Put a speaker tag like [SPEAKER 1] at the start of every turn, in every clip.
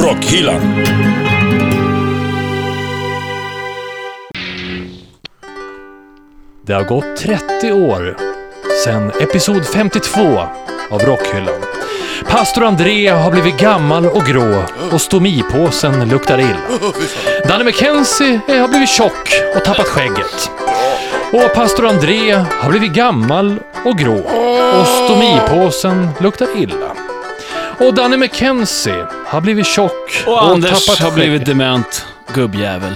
[SPEAKER 1] Rockhyllan.
[SPEAKER 2] Det har gått 30 år sedan episod 52 av Rockhyllan. Pastor André har blivit gammal och grå och stomipåsen luktar illa. Danny McKenzie eh, har blivit tjock och tappat skägget. Och pastor André har blivit gammal och grå och stomipåsen luktar illa. Och Danny McKenzie har blivit tjock och,
[SPEAKER 3] Och, Anders
[SPEAKER 2] tappat
[SPEAKER 3] har blivit
[SPEAKER 2] skägget.
[SPEAKER 3] dement, gubbjävel.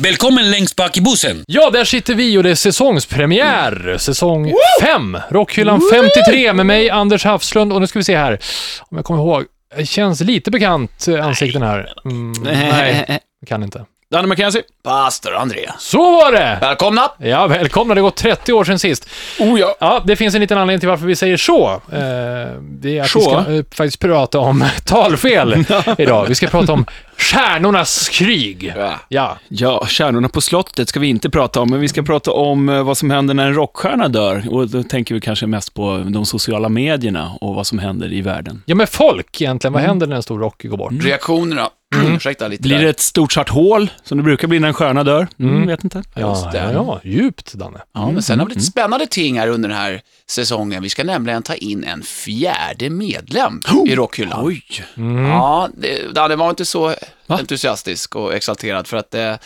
[SPEAKER 1] Välkommen längst bak i bussen.
[SPEAKER 2] Ja, där sitter vi och det är säsongspremiär. Säsong 5. Rockhyllan 53 med mig, Anders Hafslund. Och nu ska vi se här, om jag kommer ihåg. Det känns lite bekant, eh, ansikten här. Mm, nej, kan inte.
[SPEAKER 3] Danny McKenzie.
[SPEAKER 4] Pastor André.
[SPEAKER 2] Så var det!
[SPEAKER 4] Välkomna!
[SPEAKER 2] Ja, välkomna. Det har gått 30 år sedan sist.
[SPEAKER 3] Oh ja.
[SPEAKER 2] Ja, det finns en liten anledning till varför vi säger så. Eh, det är att
[SPEAKER 3] Så?
[SPEAKER 2] vi ska eh, faktiskt prata om talfel idag. Vi ska prata om stjärnornas krig.
[SPEAKER 4] Ja.
[SPEAKER 2] Ja,
[SPEAKER 3] Ja, Kärnorna på slottet ska vi inte prata om, men vi ska prata om eh, vad som händer när en rockstjärna dör. Och då tänker vi kanske mest på de sociala medierna och vad som händer i världen.
[SPEAKER 2] ja men folk egentligen. Vad händer när en stor rock går bort?
[SPEAKER 4] Reaktionerna.
[SPEAKER 3] Mm.
[SPEAKER 4] Ursäkta lite
[SPEAKER 3] Blir
[SPEAKER 4] där.
[SPEAKER 3] det ett stort svart hål, som det brukar bli när en stjärna dör? Mm, Vet inte.
[SPEAKER 2] Ja,
[SPEAKER 4] Just det.
[SPEAKER 2] ja, ja, djupt Danne.
[SPEAKER 4] Ja, men sen har vi
[SPEAKER 3] Mm,
[SPEAKER 4] lite spännande ting här under den här säsongen. Vi ska nämligen ta in en fjärde medlem i rockhyllan.
[SPEAKER 3] Oj.
[SPEAKER 4] Ja, det, Danne var inte så
[SPEAKER 3] Mm. Va?
[SPEAKER 4] entusiastisk och exalterad för att det,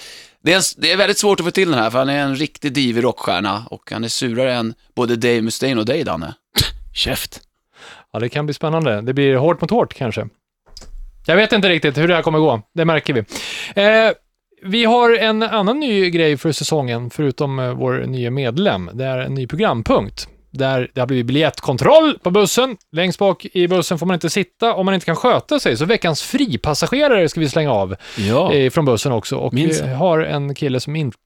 [SPEAKER 4] det, är en, det är väldigt svårt att få till den här för han är en riktig divig rockstjärna och han är surare än både Dave Mustaine och dig Danne.
[SPEAKER 3] Käft.
[SPEAKER 2] Ja, det kan bli spännande. Det blir hårt mot hårt kanske. Jag vet inte riktigt hur det här kommer gå. Det märker vi. Eh, vi har en annan ny grej för säsongen, förutom eh, vår nya medlem. Det är en ny programpunkt. Där det har blivit biljettkontroll på bussen. Längst bak i bussen får man inte sitta om man inte kan sköta sig. Så veckans fripassagerare ska vi slänga av
[SPEAKER 3] Ja.
[SPEAKER 2] eh, från bussen också. Och
[SPEAKER 3] Minns
[SPEAKER 2] vi har en kille som inte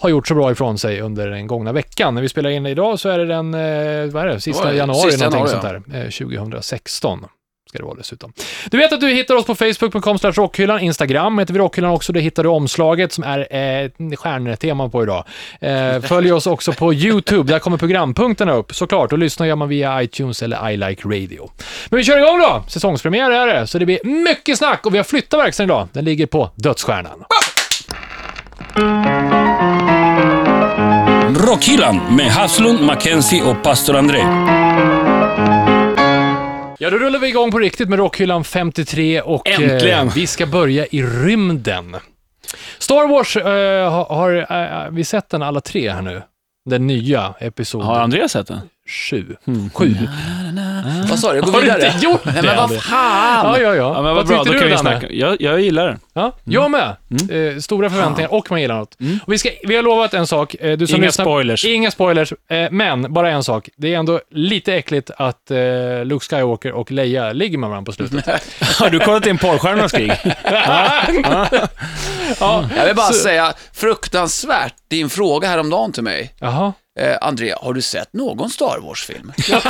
[SPEAKER 2] har gjort så bra ifrån sig under den gångna veckan. När vi spelar in idag så är det den, eh, vad är det, sista
[SPEAKER 4] Oj,
[SPEAKER 2] januari,
[SPEAKER 4] sista
[SPEAKER 2] någonting
[SPEAKER 4] januari,
[SPEAKER 2] sånt där, eh, 2016. Ska det vara dessutom. Du vet att du hittar oss på Facebook.com slash rockhyllan, Instagram heter vi rockhyllan också, där hittar du omslaget som är eh, ett stjärntema på idag. Eh, följ oss också på YouTube, där kommer programpunkterna upp såklart och lyssna gör man via iTunes eller I Like Radio. Men vi kör igång då! Säsongspremiär är det, så det blir mycket snack och vi har flyttat verkstaden idag. Den ligger på Dödsstjärnan.
[SPEAKER 1] Rockhyllan med Haslund, Mackenzie och pastor André.
[SPEAKER 2] Ja, då rullar vi igång på riktigt med Rockhyllan 53 och
[SPEAKER 3] Äntligen!
[SPEAKER 2] Eh, vi ska börja i rymden. Star Wars, eh, har, har eh, vi sett den alla tre här nu? Den nya,
[SPEAKER 3] Har
[SPEAKER 2] episod
[SPEAKER 3] Andreas sett den?
[SPEAKER 2] 7.
[SPEAKER 3] Hmm.
[SPEAKER 2] 7.
[SPEAKER 4] Vad sa du? Gå
[SPEAKER 2] Har du
[SPEAKER 4] vidare.
[SPEAKER 2] inte gjort det?
[SPEAKER 4] Nej, men
[SPEAKER 2] André?
[SPEAKER 4] vad fan!
[SPEAKER 2] Ja, ja, ja.
[SPEAKER 3] Ja, men vad,
[SPEAKER 2] vad
[SPEAKER 3] bra, då
[SPEAKER 2] tyckte
[SPEAKER 3] kan
[SPEAKER 2] du
[SPEAKER 3] vi
[SPEAKER 2] Danne?
[SPEAKER 3] snacka. Mm. Jag, jag gillar den.
[SPEAKER 2] Ja, jag med. Eh, stora förväntningar och man gillar något. Och vi, ska, vi har lovat en sak. Eh, du som
[SPEAKER 3] Mm. Inga
[SPEAKER 2] lyssnar,
[SPEAKER 3] spoilers.
[SPEAKER 2] Inga spoilers. Eh, men, bara en sak. Det är ändå lite äckligt att eh, Luke Skywalker och Leia ligger med varandra på slutet.
[SPEAKER 3] Har du kollat in porrstjärnornas krig?
[SPEAKER 2] ja.
[SPEAKER 4] Jag vill bara säga, fruktansvärt, din fråga häromdagen till mig.
[SPEAKER 2] Jaha.
[SPEAKER 4] Eh, André, har du sett någon Star Wars-film?
[SPEAKER 3] ja,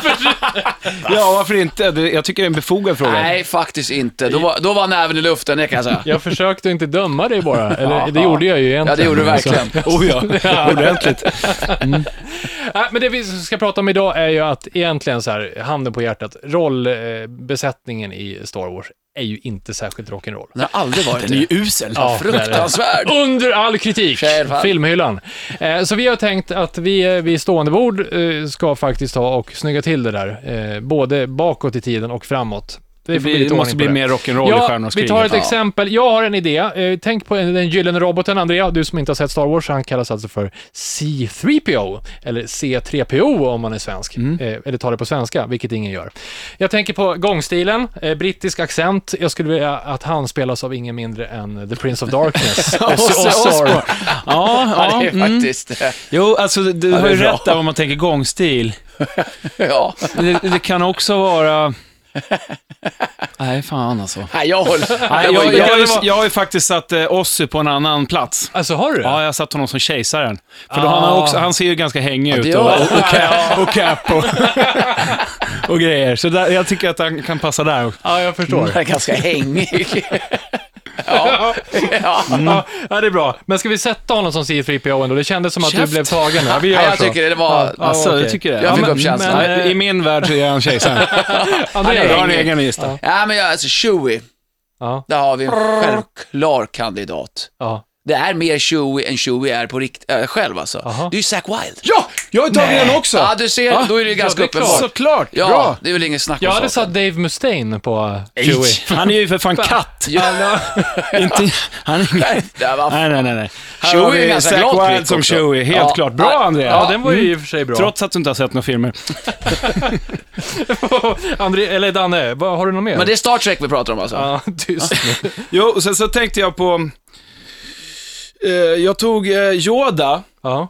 [SPEAKER 3] varför inte? Det- Jag tycker det är en befogad fråga.
[SPEAKER 4] Nej, faktiskt inte. Då var, då var näven i luften, det kan jag säga.
[SPEAKER 2] Jag försökte inte döma dig bara. Eller, det gjorde jag ju egentligen.
[SPEAKER 4] Ja, det gjorde du
[SPEAKER 2] men så-
[SPEAKER 4] verkligen.
[SPEAKER 3] Oh ja, ordentligt.
[SPEAKER 2] Nej, Äh, men det vi ska prata om idag är ju att egentligen så här, handen på hjärtat, rollbesättningen i Star Wars är ju inte särskilt rock'n'roll.
[SPEAKER 4] Den har aldrig varit
[SPEAKER 3] Den är ju
[SPEAKER 4] det.
[SPEAKER 3] usel.
[SPEAKER 2] Ja, det är det.
[SPEAKER 4] Fruktansvärd.
[SPEAKER 2] Under all kritik,
[SPEAKER 4] Självfallet.
[SPEAKER 2] filmhyllan. Eh, så vi har tänkt att vi eh, vid stående bord eh, ska faktiskt ta och snygga till det där. Eh, både bakåt i tiden och framåt. Det,
[SPEAKER 3] Det,
[SPEAKER 2] får bli
[SPEAKER 3] blir,
[SPEAKER 2] lite
[SPEAKER 3] det måste
[SPEAKER 2] ordning
[SPEAKER 3] bli
[SPEAKER 2] på det.
[SPEAKER 3] mer rock'n'roll i
[SPEAKER 2] Ja,
[SPEAKER 3] Stjärnornas
[SPEAKER 2] vi
[SPEAKER 3] krig.
[SPEAKER 2] tar ett
[SPEAKER 4] Ja.
[SPEAKER 2] exempel. Jag har en idé. Eh, tänk på den gyllene roboten, Andrea. Du som inte har sett Star Wars, han kallas alltså för C3PO, eller C3PO om man är svensk. Eh, eller tar det på svenska, vilket ingen gör. Jag tänker på gångstilen, eh, brittisk accent. Jag skulle vilja att han spelas av ingen mindre än The Prince of Darkness. Alltså, Och så- och så-
[SPEAKER 3] Ja, mm.
[SPEAKER 4] Ja, mm. det
[SPEAKER 3] ja.
[SPEAKER 4] är faktiskt...
[SPEAKER 3] Jo, alltså du
[SPEAKER 4] det
[SPEAKER 3] har ju
[SPEAKER 4] är bra.
[SPEAKER 3] rätt där om man tänker gångstil.
[SPEAKER 4] Ja.
[SPEAKER 3] Det, det kan också vara... Nej, fan alltså.
[SPEAKER 4] Nej, jag håller...
[SPEAKER 3] Nej,
[SPEAKER 4] Det var
[SPEAKER 3] jag,
[SPEAKER 4] ju-
[SPEAKER 3] jag, har ju- jag har ju faktiskt satt eh, Ossi på en annan plats.
[SPEAKER 2] Alltså, har du det?
[SPEAKER 3] Ja, Ah. jag har satt honom som kejsaren. För då han, har också, han ser ju ganska hängig
[SPEAKER 4] det
[SPEAKER 3] ut och,
[SPEAKER 4] gör
[SPEAKER 3] och,
[SPEAKER 4] han.
[SPEAKER 3] och, cap, och, cap och, och Ah, grejer. Så där, jag tycker att han kan passa där.
[SPEAKER 2] Mm. Ja, jag förstår.
[SPEAKER 4] Den är ganska hängig. Ja. ja.
[SPEAKER 2] Ja, det är bra. Men ska vi sätta honom som CFO PO ändå? Det kändes som att du
[SPEAKER 4] Käft.
[SPEAKER 2] blev tagen. Ja, vi gör
[SPEAKER 4] Nej, jag
[SPEAKER 2] så.
[SPEAKER 4] tycker det var...
[SPEAKER 2] Ja,
[SPEAKER 3] Alltså,
[SPEAKER 2] okej.
[SPEAKER 3] jag tycker det.
[SPEAKER 4] Jag fick upp känslan.
[SPEAKER 3] men, eh, I min värld så är han kejsaren.
[SPEAKER 2] André,
[SPEAKER 3] Jag har en
[SPEAKER 2] häng.
[SPEAKER 3] egen lista.
[SPEAKER 4] Ja, men jag, alltså Chewie,
[SPEAKER 2] Ja,
[SPEAKER 4] där har vi en självklar kandidat.
[SPEAKER 2] ja.
[SPEAKER 4] Det är mer Chewie än Chewie är på rikt- äh, själv alltså.
[SPEAKER 2] Aha.
[SPEAKER 4] Det är ju Zack Wilde.
[SPEAKER 5] Ja, jag har tagit den också.
[SPEAKER 4] Ah, Ja, du ser, då är det ju ganska
[SPEAKER 2] det är
[SPEAKER 4] uppenbart.
[SPEAKER 5] Såklart,
[SPEAKER 4] Ja,
[SPEAKER 5] bra.
[SPEAKER 4] det är väl inget snack
[SPEAKER 2] Jag
[SPEAKER 4] om
[SPEAKER 2] hade
[SPEAKER 4] saken.
[SPEAKER 2] satt Dave Mustaine på
[SPEAKER 4] Nej.
[SPEAKER 2] Chewie.
[SPEAKER 3] Han är ju för fan katt.
[SPEAKER 4] Ja,
[SPEAKER 3] Inte, han är ingen...
[SPEAKER 4] där var-
[SPEAKER 3] Nej, nej, nej. nej. Här
[SPEAKER 4] Chewie
[SPEAKER 3] har
[SPEAKER 4] är
[SPEAKER 3] vi
[SPEAKER 4] ganska
[SPEAKER 3] Zack
[SPEAKER 4] glad
[SPEAKER 3] Wilde
[SPEAKER 4] prick
[SPEAKER 3] som
[SPEAKER 4] också.
[SPEAKER 3] Chewie. Helt
[SPEAKER 4] Ja.
[SPEAKER 3] klart. Bra, Mm. André.
[SPEAKER 2] Ja, den var ju i och för sig bra.
[SPEAKER 3] Trots att du inte har sett några filmer.
[SPEAKER 2] André, eller Danne, vad- har du något mer?
[SPEAKER 4] Men det är Star Trek vi pratar om alltså.
[SPEAKER 2] Ja, tyst nu.
[SPEAKER 3] Jo, och sen så tänkte jag på... eh, jag tog eh, Yoda
[SPEAKER 2] Ja.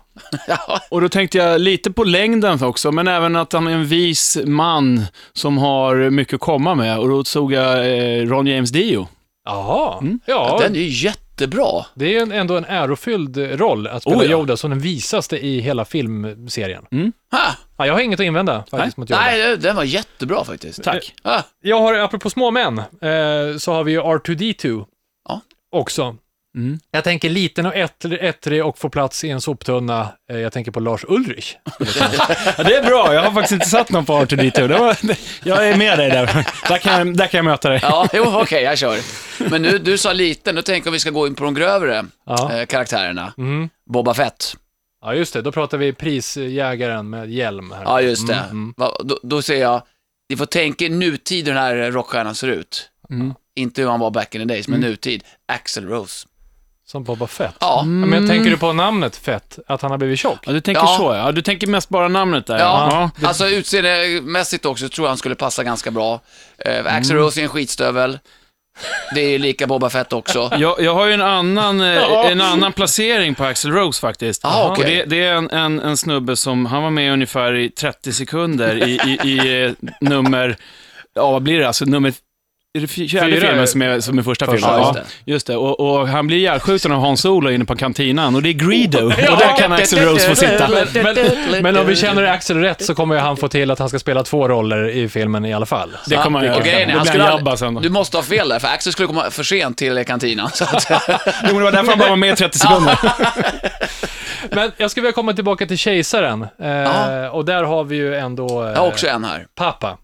[SPEAKER 3] och då tänkte jag lite på längden också, men även att han är en vis man som har mycket att komma med. Och då tog jag eh, Ron James Dio.
[SPEAKER 2] Jaha. Ja,
[SPEAKER 4] Mm. Den är ju jättebra.
[SPEAKER 2] det är ju en- ändå en ärofylld roll att spela
[SPEAKER 3] Oh, ja.
[SPEAKER 2] Yoda som den visaste i hela filmserien.
[SPEAKER 4] Ha.
[SPEAKER 2] Ja, jag har inget Liksom att invända faktiskt mot Yoda.
[SPEAKER 4] Mm. Nej, det- den var jättebra faktiskt. Eh, ah,
[SPEAKER 3] Tack.
[SPEAKER 4] Ha.
[SPEAKER 2] Jag har, apropå små män, eh, så har vi ju R2D2
[SPEAKER 4] Ja.
[SPEAKER 2] också.
[SPEAKER 3] Mm.
[SPEAKER 2] Jag tänker liten och ettrig- ettrig och får plats i en soptunna. Eh, jag tänker på Lars Ulrich.
[SPEAKER 3] Ja, det är bra, jag har faktiskt inte satt någon på Arthur Dito. Det var, jag är med dig där. Där kan jag, där kan jag möta dig.
[SPEAKER 4] Ja, jo, okej, jag kör. Men nu, du sa liten, nu tänker jag om vi ska gå in på de grövre
[SPEAKER 2] Ja.
[SPEAKER 4] eh, karaktärerna.
[SPEAKER 2] Mm.
[SPEAKER 4] Boba Fett.
[SPEAKER 2] ja, just det. Då pratar vi prisjägaren med hjälm. Här.
[SPEAKER 4] Ja, just det.
[SPEAKER 2] Mm, mm.
[SPEAKER 4] Va, då, då säger jag, ni får tänka i nutid hur den här rockstjärnan ser ut.
[SPEAKER 2] Mm.
[SPEAKER 4] Inte hur han var back in the days, men nutid. Axel Rose.
[SPEAKER 2] Som Boba Fett.
[SPEAKER 4] Ja,
[SPEAKER 2] Ja, men tänker du på namnet Fett, att han har blivit tjock?
[SPEAKER 3] Ja, du tänker
[SPEAKER 4] Ja.
[SPEAKER 3] så, ja. Du tänker mest bara namnet där.
[SPEAKER 4] ja. alltså utseendemässigt också tror jag han skulle passa ganska bra. Eh, Axel
[SPEAKER 2] Mm.
[SPEAKER 4] Rose är en skitstövel. Det är lika Boba Fett också.
[SPEAKER 3] Jag, jag har ju en annan, eh, en annan placering på Axel Rose faktiskt.
[SPEAKER 4] Ah, okej.
[SPEAKER 3] Och det, det är en, en, en snubbe som, han var med ungefär i 30 sekunder i, i, i eh, nummer, ja vad blir det, alltså nummer är det fj- fjärde
[SPEAKER 2] Fyra,
[SPEAKER 3] filmen som är, som är första filmen?
[SPEAKER 2] Första,
[SPEAKER 4] just
[SPEAKER 3] just det. Och, och han blir ihjälskjuten av Hans-Olo inne på kantinan och det är Greedo. Och där kan Axel Rose få sitta.
[SPEAKER 2] Men, men om vi känner Axel rätt så kommer ju han få till att han ska spela två roller i filmen i alla fall.
[SPEAKER 3] Det kommer han
[SPEAKER 4] Och
[SPEAKER 3] göra.
[SPEAKER 4] grejen är,
[SPEAKER 3] Då
[SPEAKER 4] han
[SPEAKER 3] blir
[SPEAKER 4] skulle
[SPEAKER 3] han
[SPEAKER 4] aldrig-
[SPEAKER 3] jabba sen.
[SPEAKER 4] Du måste ha fel där, för Axel skulle komma för sent till kantinan. Så att,
[SPEAKER 3] Jo, men det var därför han bara var med i 30 sekunder.
[SPEAKER 2] Men jag skulle vilja komma tillbaka till Kejsaren. Eh,
[SPEAKER 4] Ja.
[SPEAKER 2] och där har vi ju ändå eh,
[SPEAKER 4] jag har också Mm, en här.
[SPEAKER 3] Mm,
[SPEAKER 2] pappa.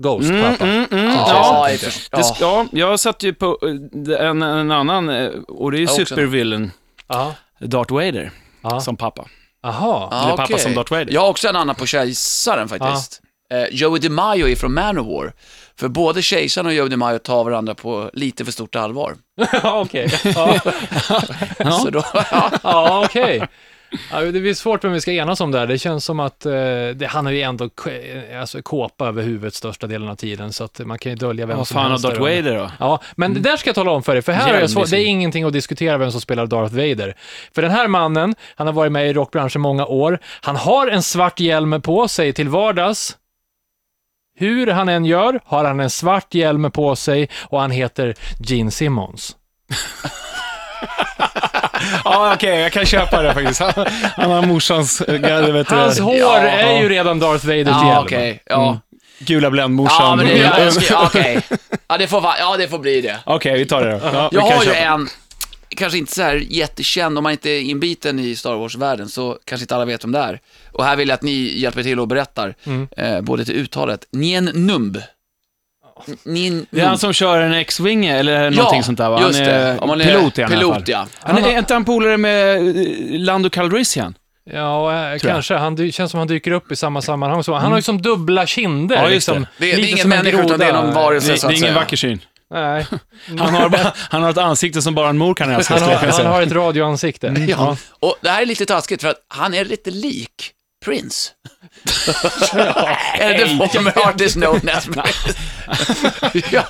[SPEAKER 2] Ghost pappa.
[SPEAKER 4] Ja,
[SPEAKER 2] jag
[SPEAKER 4] i och för sig.
[SPEAKER 3] Det sk-
[SPEAKER 4] ja.
[SPEAKER 3] ja, jag satt ju på eh, en, en annan, eh, och det är ju
[SPEAKER 4] Jag också.
[SPEAKER 3] supervillain,
[SPEAKER 2] Ja.
[SPEAKER 3] Darth Vader,
[SPEAKER 2] Ja.
[SPEAKER 3] som pappa.
[SPEAKER 2] Aha.
[SPEAKER 4] Ja,
[SPEAKER 3] Eller pappa
[SPEAKER 4] okej.
[SPEAKER 3] som Darth Vader.
[SPEAKER 4] Jag har också en annan på kejsaren faktiskt. Eh, Joey DiMaggio är från Manowar. För både kejsaren och Joey DiMaggio tar varandra på lite för stort allvar.
[SPEAKER 2] Ja, okej. Ja,
[SPEAKER 4] Så då, ja.
[SPEAKER 2] ja, okej. Ja, det blir svårt vem vi ska enas om där. Det känns som att eh, det, han är ju ändå k- alltså, kåpa över huvudet största delen av tiden, så att man kan ju dölja vem
[SPEAKER 3] Vad
[SPEAKER 2] som
[SPEAKER 3] fan har
[SPEAKER 2] helst.
[SPEAKER 3] Darth
[SPEAKER 2] där.
[SPEAKER 3] Vader då?
[SPEAKER 2] Ja, men det där ska jag tala om för dig, för här är det,
[SPEAKER 3] Jävligt.
[SPEAKER 2] så, det är ingenting att diskutera vem som spelar Darth Vader. För den här mannen, han har varit med i rockbranschen många år, han har en svart hjälm på sig till vardags. Hur han än gör har han en svart hjälm på sig och han heter Gene Simmons.
[SPEAKER 3] Ja, okej, jag kan köpa det faktiskt. Han, han har morsans eh, gar- vet du,
[SPEAKER 2] Hans hår
[SPEAKER 4] Ja.
[SPEAKER 2] är ju redan Darth Vaders
[SPEAKER 4] Ja,
[SPEAKER 2] hjälm.
[SPEAKER 4] okej.
[SPEAKER 3] Mm.
[SPEAKER 4] Ja.
[SPEAKER 3] gula bländmorsan. Mm.
[SPEAKER 4] ja, men det, ja, jag
[SPEAKER 3] Okej,
[SPEAKER 4] ska- ja, okej. Ja, det får, va- ja, det får bli det.
[SPEAKER 3] vi tar det då. Ja, vi
[SPEAKER 4] Jag
[SPEAKER 3] kan
[SPEAKER 4] har ju
[SPEAKER 3] köpa.
[SPEAKER 4] en, kanske inte så här jättekänd, om man inte är inbiten i Star Wars-världen så kanske inte alla vet om det är. Och här vill jag att ni hjälper till och berättar,
[SPEAKER 3] Mm.
[SPEAKER 4] eh, både till uttalet. Nien Numb. N- Nien
[SPEAKER 3] Det är han
[SPEAKER 4] Numb.
[SPEAKER 3] som kör en X-Wing eller någonting sånt där va?
[SPEAKER 4] just
[SPEAKER 3] han
[SPEAKER 4] det. Om man är
[SPEAKER 3] pilot i alla
[SPEAKER 4] pilot,
[SPEAKER 3] fall.
[SPEAKER 4] ja.
[SPEAKER 3] Han är, är inte han polare med eh, Lando Calrissian?
[SPEAKER 2] Ja, eh, kanske. Han dy- känns som han dyker upp i samma sammanhang. som Han
[SPEAKER 3] Mm.
[SPEAKER 2] har ju som dubbla kinder.
[SPEAKER 3] Ja, just det.
[SPEAKER 2] liksom.
[SPEAKER 4] Det, det
[SPEAKER 2] Lite
[SPEAKER 4] är ingen
[SPEAKER 2] som en
[SPEAKER 4] människa utan det är
[SPEAKER 2] groda.
[SPEAKER 4] någon
[SPEAKER 3] Det,
[SPEAKER 4] varelse
[SPEAKER 3] det
[SPEAKER 4] så att
[SPEAKER 3] är ingen
[SPEAKER 4] säga.
[SPEAKER 3] vacker syn.
[SPEAKER 2] Nej.
[SPEAKER 3] Han har, bara- han har ett ansikte som bara en mor kan älska,
[SPEAKER 2] Han
[SPEAKER 3] skulle
[SPEAKER 2] har,
[SPEAKER 3] jag kunna
[SPEAKER 2] han
[SPEAKER 3] säga. Mm.
[SPEAKER 2] har ett radioansikte.
[SPEAKER 4] Ja. Och det här är lite taskigt för att han är lite lik Prince. Eller the former artist known as Prince. ja,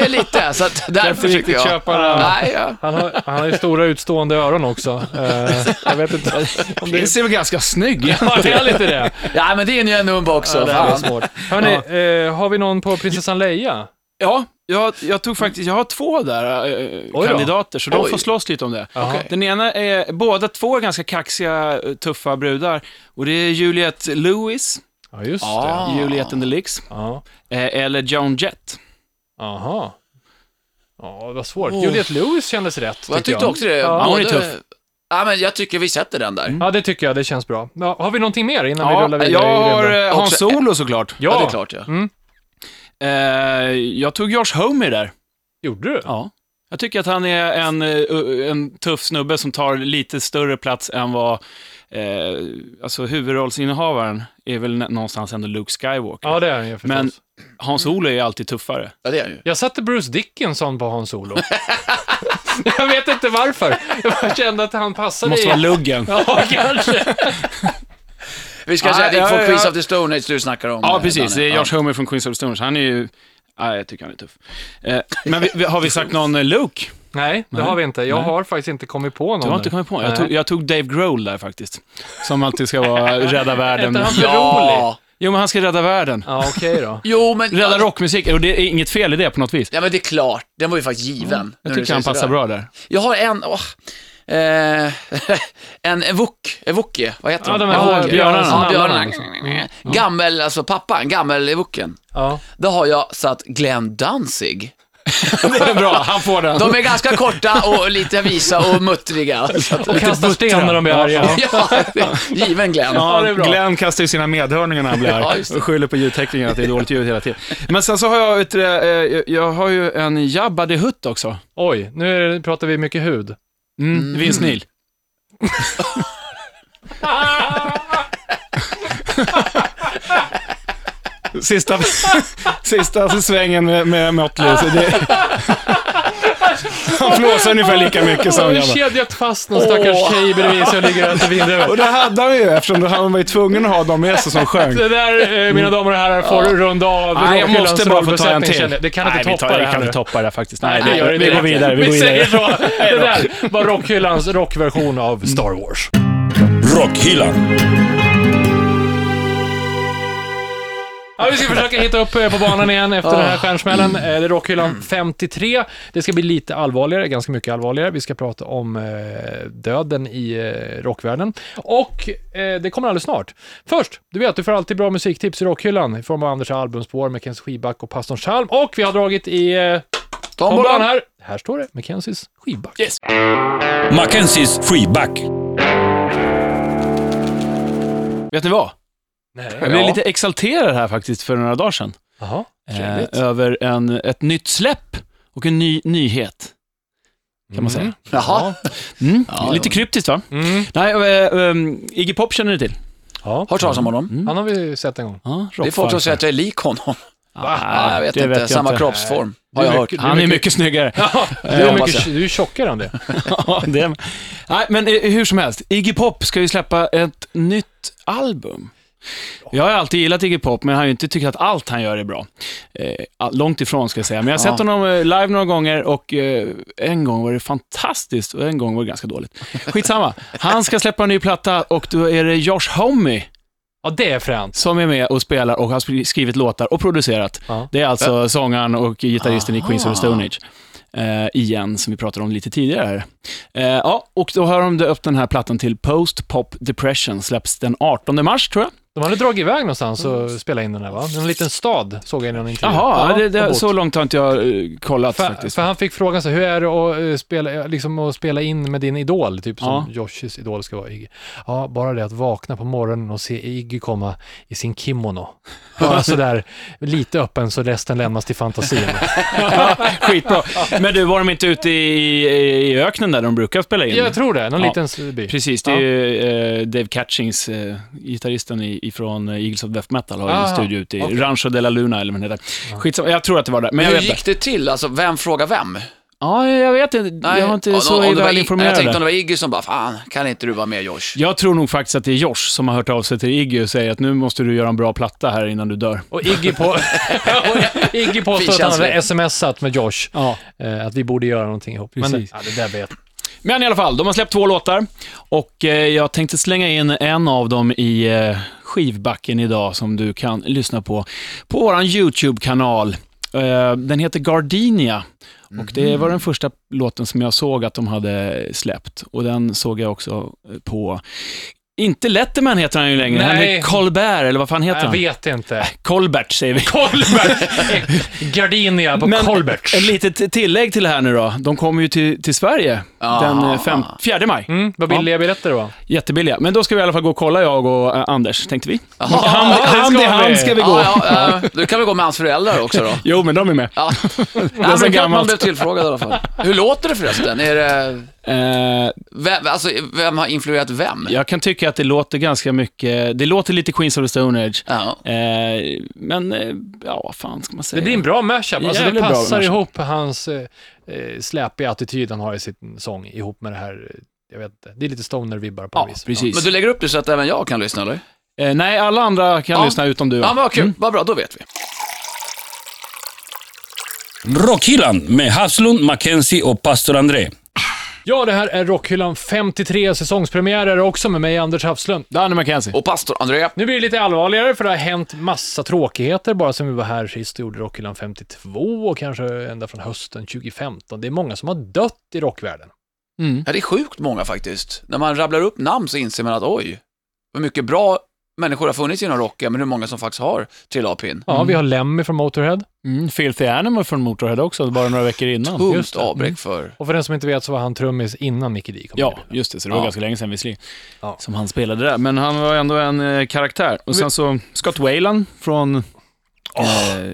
[SPEAKER 4] ja, lite. Så att därför
[SPEAKER 2] inte riktigt
[SPEAKER 4] försöker jag.
[SPEAKER 2] köpa det.
[SPEAKER 4] Nej, ja.
[SPEAKER 2] Han har, han har ju stora utstående öron också. Eh, jag vet inte om det
[SPEAKER 3] Det ser väl ganska snygg ut?
[SPEAKER 2] Ja, det är lite det.
[SPEAKER 4] ja, men det är en ju numb också.
[SPEAKER 2] Ja, det här är
[SPEAKER 4] fan.
[SPEAKER 2] svårt. Hörrni, eh, har vi någon på prinsessan Leia?
[SPEAKER 3] Ja, jag, jag tog faktiskt, jag har två där eh,
[SPEAKER 2] Oj då.
[SPEAKER 3] kandidater, så de
[SPEAKER 4] Oj.
[SPEAKER 3] får slåss lite om det.
[SPEAKER 2] Okej.
[SPEAKER 3] Den ena är, båda två är ganska kaxiga, eh, tuffa brudar. Och det är Juliet Lewis,
[SPEAKER 2] Ja, just det.
[SPEAKER 4] Ah.
[SPEAKER 3] Juliet and the Licks,
[SPEAKER 2] Ja.
[SPEAKER 3] eh, eller Joan Jett.
[SPEAKER 2] Aha. Ja, det var svårt. Juliette Lewis kändes rätt.
[SPEAKER 4] Och jag tyckte också det.
[SPEAKER 2] Ja. Mm.
[SPEAKER 3] hon är
[SPEAKER 4] Både-
[SPEAKER 3] tuff.
[SPEAKER 4] Ja, men jag tycker vi sätter den där.
[SPEAKER 2] ja, det tycker jag. Det känns bra. Ja, har vi någonting mer innan vi rullar
[SPEAKER 3] Ja,
[SPEAKER 2] vidare?
[SPEAKER 3] jag har
[SPEAKER 2] i rymden?
[SPEAKER 3] eh, Hans
[SPEAKER 4] Också-
[SPEAKER 3] Solo såklart.
[SPEAKER 4] Ja, det är
[SPEAKER 2] Ja,
[SPEAKER 4] klart ja.
[SPEAKER 3] Eh, jag tog Josh Homme där.
[SPEAKER 2] gjorde du?
[SPEAKER 3] Ja. Jag tycker att han är en, eh, en tuff snubbe som tar lite större plats än vad eh, alltså huvudrollsinnehavaren är väl nä- någonstans ändå Luke Skywalker.
[SPEAKER 2] Ja, det är han ju förstås.
[SPEAKER 3] Men Hans Olo är ju alltid tuffare.
[SPEAKER 4] Ja, det är den ju.
[SPEAKER 2] Jag satte Bruce Dickinson på Hans Solo. jag vet inte varför. Jag bara kände att han passade
[SPEAKER 3] Måste
[SPEAKER 2] i-
[SPEAKER 3] vara luggen.
[SPEAKER 2] Ja, kanske.
[SPEAKER 4] Vi ska
[SPEAKER 3] Ja,
[SPEAKER 4] säga att det
[SPEAKER 3] ja,
[SPEAKER 4] gick från
[SPEAKER 3] ja.
[SPEAKER 4] Queens of the Stone Age du snackar om.
[SPEAKER 3] Ja,
[SPEAKER 4] eh,
[SPEAKER 3] precis.
[SPEAKER 4] Danne.
[SPEAKER 3] Det är Josh Homme från Queens of the Stones. Han är ju... Nej, jag tycker han är tuff. Eh, men vi, vi, har vi sagt någon eh, Luke?
[SPEAKER 2] Nej, det har vi inte. Jag har faktiskt inte kommit på någon.
[SPEAKER 3] Du har inte kommit på Jag tog, jag tog Dave Grohl där faktiskt. Som alltid ska vara rädda världen.
[SPEAKER 2] Hette han för rolig?
[SPEAKER 4] Ja.
[SPEAKER 3] Jo, men han ska rädda världen.
[SPEAKER 2] Ja, okej då.
[SPEAKER 4] Jo, men...
[SPEAKER 3] Rädda rockmusik, och det är inget fel i det på något vis.
[SPEAKER 4] Ja, men det är klart. Den var ju faktiskt given. när
[SPEAKER 3] Jag
[SPEAKER 4] du
[SPEAKER 3] tycker
[SPEAKER 4] säger
[SPEAKER 3] han passar
[SPEAKER 4] sådär.
[SPEAKER 3] bra där.
[SPEAKER 4] Jag har en, åh, eh, en evok, evokie, vad heter
[SPEAKER 2] Ja,
[SPEAKER 4] hon?
[SPEAKER 2] de här
[SPEAKER 4] Evokie.
[SPEAKER 2] björnarna.
[SPEAKER 4] Ja,
[SPEAKER 2] Snallarna,
[SPEAKER 4] björnarna.
[SPEAKER 3] Mm.
[SPEAKER 4] Gammel, alltså pappan, gammel evoken.
[SPEAKER 2] Ja.
[SPEAKER 4] Då har jag satt Glenn Danzig.
[SPEAKER 3] Det är bra, han får den.
[SPEAKER 4] De är ganska korta och lite visa och muttriga. Så att-
[SPEAKER 2] Och kasta sten när de blir arga.
[SPEAKER 4] Ja, given Glenn.
[SPEAKER 2] Ja, det är bra.
[SPEAKER 3] Glenn kastar ju sina medhörningar när han blir
[SPEAKER 4] Ja,
[SPEAKER 3] arg
[SPEAKER 4] just det.
[SPEAKER 3] och skyller på ljudtekniken att det är dåligt ljud hela tiden. Men sen så har jag, ett, eh, jag- jag har ju en Jabba the Hutt också.
[SPEAKER 2] Oj, nu är det- pratar vi mycket hud.
[SPEAKER 3] Mm, Vince Neil. Sista, sista svängen med, med Motley. så det- Han flåsar ungefär lika mycket
[SPEAKER 2] Jag
[SPEAKER 3] som
[SPEAKER 2] har
[SPEAKER 3] Jabba.
[SPEAKER 2] kedjat fast någon stackars tjej bredvid som ligger under
[SPEAKER 5] Och
[SPEAKER 2] vindrutan.
[SPEAKER 5] det hade han ju eftersom han var ju tvungen att ha dem med sig som sjöng.
[SPEAKER 2] Det där, eh, mina damer och herrar, får du runda av.
[SPEAKER 3] Nej, jag
[SPEAKER 2] Rockhyllans
[SPEAKER 3] måste bara få ta en
[SPEAKER 2] rollbesättning,
[SPEAKER 3] till.
[SPEAKER 2] känner jag. Det kan
[SPEAKER 3] Nej,
[SPEAKER 2] inte
[SPEAKER 3] vi tar-
[SPEAKER 2] toppa det
[SPEAKER 3] Vi kan
[SPEAKER 2] här.
[SPEAKER 3] inte toppa det här faktiskt. Nej,
[SPEAKER 2] Nej, gör
[SPEAKER 3] det,
[SPEAKER 2] inte
[SPEAKER 3] vi
[SPEAKER 2] det.
[SPEAKER 3] går vidare. Vi, går
[SPEAKER 2] säger
[SPEAKER 3] vidare.
[SPEAKER 2] så. Det där var Rockhyllans rockversion av Star Wars.
[SPEAKER 1] Rockhyllan.
[SPEAKER 2] Ja, vi ska försöka hitta upp eh, på banan igen efter
[SPEAKER 3] Ah.
[SPEAKER 2] den här stjärnsmällen. Eh, Det är Rockhyllan 53. Det ska bli lite allvarligare, ganska mycket allvarligare. Vi ska prata om eh, döden i eh, rockvärlden. Och eh, det kommer alldeles snart. Först, du vet, du får alltid bra musiktips i Rockhyllan i form av Anders albumspår, Mackenzie skivback och Pastorn Chalm. Och vi har dragit i eh, tombolan här. Här står det, Mackenzies skivback.
[SPEAKER 1] Mackenzies freeback.
[SPEAKER 3] Vet ni vad?
[SPEAKER 2] Nej.
[SPEAKER 3] Jag blev
[SPEAKER 4] Ja.
[SPEAKER 3] lite exalterad här faktiskt för några dagar sedan.
[SPEAKER 2] Jaha.
[SPEAKER 3] Eh, över en, ett nytt släpp och en ny nyhet. Kan man säga.
[SPEAKER 4] Jaha.
[SPEAKER 3] Mm.
[SPEAKER 4] Ja,
[SPEAKER 3] lite
[SPEAKER 4] jo.
[SPEAKER 3] kryptiskt va?
[SPEAKER 2] Mm.
[SPEAKER 3] Nej, eh, um, Iggy Pop känner ni till?
[SPEAKER 2] Ja.
[SPEAKER 4] Har talas om honom.
[SPEAKER 2] Han har vi sett en gång.
[SPEAKER 3] Ja,
[SPEAKER 4] Det är folk som säger att jag är lik honom. Ja, jag vet inte, samma kroppsform. Har
[SPEAKER 2] Det
[SPEAKER 4] jag
[SPEAKER 2] är
[SPEAKER 4] hört.
[SPEAKER 2] mycket-
[SPEAKER 3] Han är mycket snyggare.
[SPEAKER 2] Du är,
[SPEAKER 4] hoppas
[SPEAKER 2] mycket, du är tjockare än det.
[SPEAKER 3] Ja, det är... Nej, men eh, hur som helst. Iggy Pop ska ju släppa ett nytt album. Jag har alltid gillat Iggy Pop, men jag har ju inte tyckt att allt han gör är bra. Eh, all- långt ifrån ska jag säga. Men jag har sett honom eh, live några gånger och eh, en gång var det fantastiskt och en gång var det ganska dåligt. Skitsamma. Han ska släppa en ny platta och då är det Josh Homme
[SPEAKER 2] Ja, det är fränt.
[SPEAKER 3] som är med och spelar och har skri- skrivit låtar och producerat.
[SPEAKER 2] Ja. Ah.
[SPEAKER 3] Det är alltså sångaren och gitarristen i Queens of the Stone Age. Eh, igen, som vi pratade om lite tidigare här. Eh, ja, och då har de döpt den här plattan till Post Pop Depression, släpps den 18 mars tror jag.
[SPEAKER 2] De hade dragit iväg någonstans och spelat in den här va? En liten stad såg jag i någon intervju.
[SPEAKER 3] Jaha,
[SPEAKER 2] Ja,
[SPEAKER 3] det,
[SPEAKER 2] de
[SPEAKER 3] det,
[SPEAKER 2] bott.
[SPEAKER 3] så långt har inte jag eh, kollat
[SPEAKER 2] för,
[SPEAKER 3] faktiskt.
[SPEAKER 2] för han fick frågan så här, hur är det att, eh, spela, liksom, att spela in med din idol, typ som
[SPEAKER 3] Ja.
[SPEAKER 2] Joshis idol ska vara, Iggy. Ja, bara det att vakna på morgonen och se Iggy komma i sin kimono. Bara sådär, lite öppen så resten lämnas till fantasin.
[SPEAKER 3] Skitbra. Men du, var de inte ute i, i, i öknen där de brukar spela in?
[SPEAKER 2] jag tror det, någon
[SPEAKER 3] Ja.
[SPEAKER 2] liten s- by.
[SPEAKER 3] Precis, det är
[SPEAKER 2] Ja.
[SPEAKER 3] ju eh, Dave Catchings, eh, gitarristen i- ifrån eh, Eagles of Death Metal, har ju
[SPEAKER 2] Ah,
[SPEAKER 3] en studio ute i
[SPEAKER 2] okej.
[SPEAKER 3] Rancho de la Luna, eller vad den heter. Skitsamma, jag tror att det var där, men jag
[SPEAKER 4] Hur
[SPEAKER 3] vet inte.
[SPEAKER 4] gick det till? Alltså, vem frågar vem?
[SPEAKER 3] Ja, jag vet inte.
[SPEAKER 4] Nej,
[SPEAKER 3] jag har inte
[SPEAKER 4] om-
[SPEAKER 3] så
[SPEAKER 4] om det var
[SPEAKER 3] väl
[SPEAKER 4] Ig- Jag
[SPEAKER 3] informerad.
[SPEAKER 4] tänkte
[SPEAKER 3] Jag,
[SPEAKER 4] om det var Iggy som bara, fan, kan inte du vara med Josh?
[SPEAKER 3] jag tror nog faktiskt att det är Josh som har hört av sig till Iggy och säger att nu måste du göra en bra platta här innan du dör.
[SPEAKER 2] Och Iggy, på, och Iggy påstår att han hade smsat med Josh,
[SPEAKER 3] Ja.
[SPEAKER 2] eh, att vi borde göra någonting ihop. Men,
[SPEAKER 3] Precis.
[SPEAKER 2] ja, det där vet
[SPEAKER 3] Men i alla fall, de har släppt två låtar och eh, jag tänkte slänga in en av dem i eh, skivbacken idag som du kan lyssna på på vår YouTube-kanal. Eh, den heter Gardenia och det
[SPEAKER 2] Mhm.
[SPEAKER 3] var den första låten som jag såg att de hade släppt och den såg jag också eh, på Inte Letterman heter han ju längre.
[SPEAKER 2] Nej.
[SPEAKER 3] Han är Colbert, eller vad fan heter
[SPEAKER 2] Jag
[SPEAKER 3] han?
[SPEAKER 2] vet inte.
[SPEAKER 3] Colbert säger vi.
[SPEAKER 2] Colbert! Gardinia på Colbert.
[SPEAKER 3] ett litet tillägg till det här nu då. De kommer ju till, till Sverige
[SPEAKER 4] Ah.
[SPEAKER 3] den eh, fem, 4 maj.
[SPEAKER 2] Mm, vad billiga biljetter det var.
[SPEAKER 3] Jättebilliga. Men då ska vi i alla fall gå och kolla, jag och eh, Anders, tänkte vi.
[SPEAKER 2] Ja, det
[SPEAKER 3] hand
[SPEAKER 2] ska
[SPEAKER 3] i
[SPEAKER 2] vi.
[SPEAKER 3] hand ska vi gå.
[SPEAKER 4] Ja, ja, ja. Du kan väl gå med hans föräldrar också då?
[SPEAKER 3] Jo, men de är med.
[SPEAKER 4] Ja.
[SPEAKER 3] är
[SPEAKER 4] Nej,
[SPEAKER 3] så
[SPEAKER 4] men kul att man
[SPEAKER 3] gammalt.
[SPEAKER 4] blev tillfrågad i alla fall. Hur låter det förresten? Är det,
[SPEAKER 3] Eh,
[SPEAKER 4] vem, alltså, vem har influerat vem?
[SPEAKER 3] jag kan tycka att det låter ganska mycket, det låter lite Queens of the Stone Age.
[SPEAKER 4] Ja.
[SPEAKER 3] Eh, men, eh, ja, vad fan ska man säga?
[SPEAKER 2] Det blir en bra mashup. Alltså, det
[SPEAKER 3] Jävligt bra
[SPEAKER 2] passar
[SPEAKER 3] mashup.
[SPEAKER 2] ihop hans eh, eh, släpiga attityd han har i sin sång ihop med det här, eh, jag vet inte, det är lite stoner-vibbar på
[SPEAKER 3] Ja,
[SPEAKER 2] något vis.
[SPEAKER 3] precis.
[SPEAKER 4] Men du lägger upp det så att även jag kan lyssna, eller?
[SPEAKER 3] Eh, nej, alla andra kan
[SPEAKER 4] Ja.
[SPEAKER 3] lyssna utom du.
[SPEAKER 4] Ja, men vad kul.
[SPEAKER 3] Mm.
[SPEAKER 4] Vad bra, då vet vi.
[SPEAKER 1] Rockhyllan med Haslund, Mackenzie och pastor André.
[SPEAKER 2] Ja, det här är Rockhyllan 53, säsongspremiärer också med mig, Anders Hafslund.
[SPEAKER 3] Danny McKenzie.
[SPEAKER 4] Och pastor André.
[SPEAKER 2] Nu blir det lite allvarligare för det har hänt massa tråkigheter bara sen vi var här sist och gjorde Rockhyllan 52 och kanske ända från hösten 2015. Det är många som har dött i rockvärlden.
[SPEAKER 4] Ja, det är sjukt många faktiskt. När man rabblar upp namn så inser man att oj, hur mycket bra människor har funnits inom rocken, men hur många som faktiskt har trillat av pinn.
[SPEAKER 2] Ja, vi har Lemmy från Motorhead.
[SPEAKER 3] Mm, Filthy Animal från Motorhead också, bara några veckor innan. Mm.
[SPEAKER 4] Tungt
[SPEAKER 2] just det.
[SPEAKER 4] avbräck för...
[SPEAKER 2] Och för den som inte vet så var han trummis innan Mickey D kom
[SPEAKER 3] Ja,
[SPEAKER 2] till.
[SPEAKER 3] just det. Så det var
[SPEAKER 4] Ja.
[SPEAKER 3] ganska länge sedan visserligen,
[SPEAKER 2] Ja.
[SPEAKER 3] som han spelade där. Men han var ändå en eh, karaktär. Och sen så Scott Wayland från eh,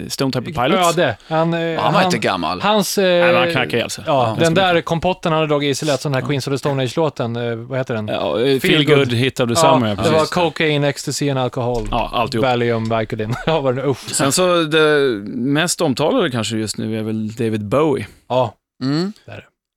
[SPEAKER 3] Stone Temple Pilots.
[SPEAKER 2] Öde. Han, eh,
[SPEAKER 4] Ja, han var inte gammal.
[SPEAKER 2] Hans...
[SPEAKER 3] Nej, men han alltså. knackade ihjäl sig.
[SPEAKER 2] Ja,
[SPEAKER 4] Ja.
[SPEAKER 2] den där kompotten han hade dragit i sig lät som den här Queens of the Stone Age-låten. Eh, vad heter den?
[SPEAKER 3] Ja, eh, feel
[SPEAKER 2] Feel
[SPEAKER 3] good,
[SPEAKER 2] Good.
[SPEAKER 3] hit of the summer,
[SPEAKER 2] det
[SPEAKER 3] ja, precis.
[SPEAKER 2] var cocaine, ecstasy and alcohol.
[SPEAKER 3] Ja, alltihop.
[SPEAKER 2] Valium, Vicodin. ja, vad det nu Usch.
[SPEAKER 3] Sen så, det mest omtalade kanske just nu är väl David Bowie.
[SPEAKER 2] Ja,
[SPEAKER 4] Mm.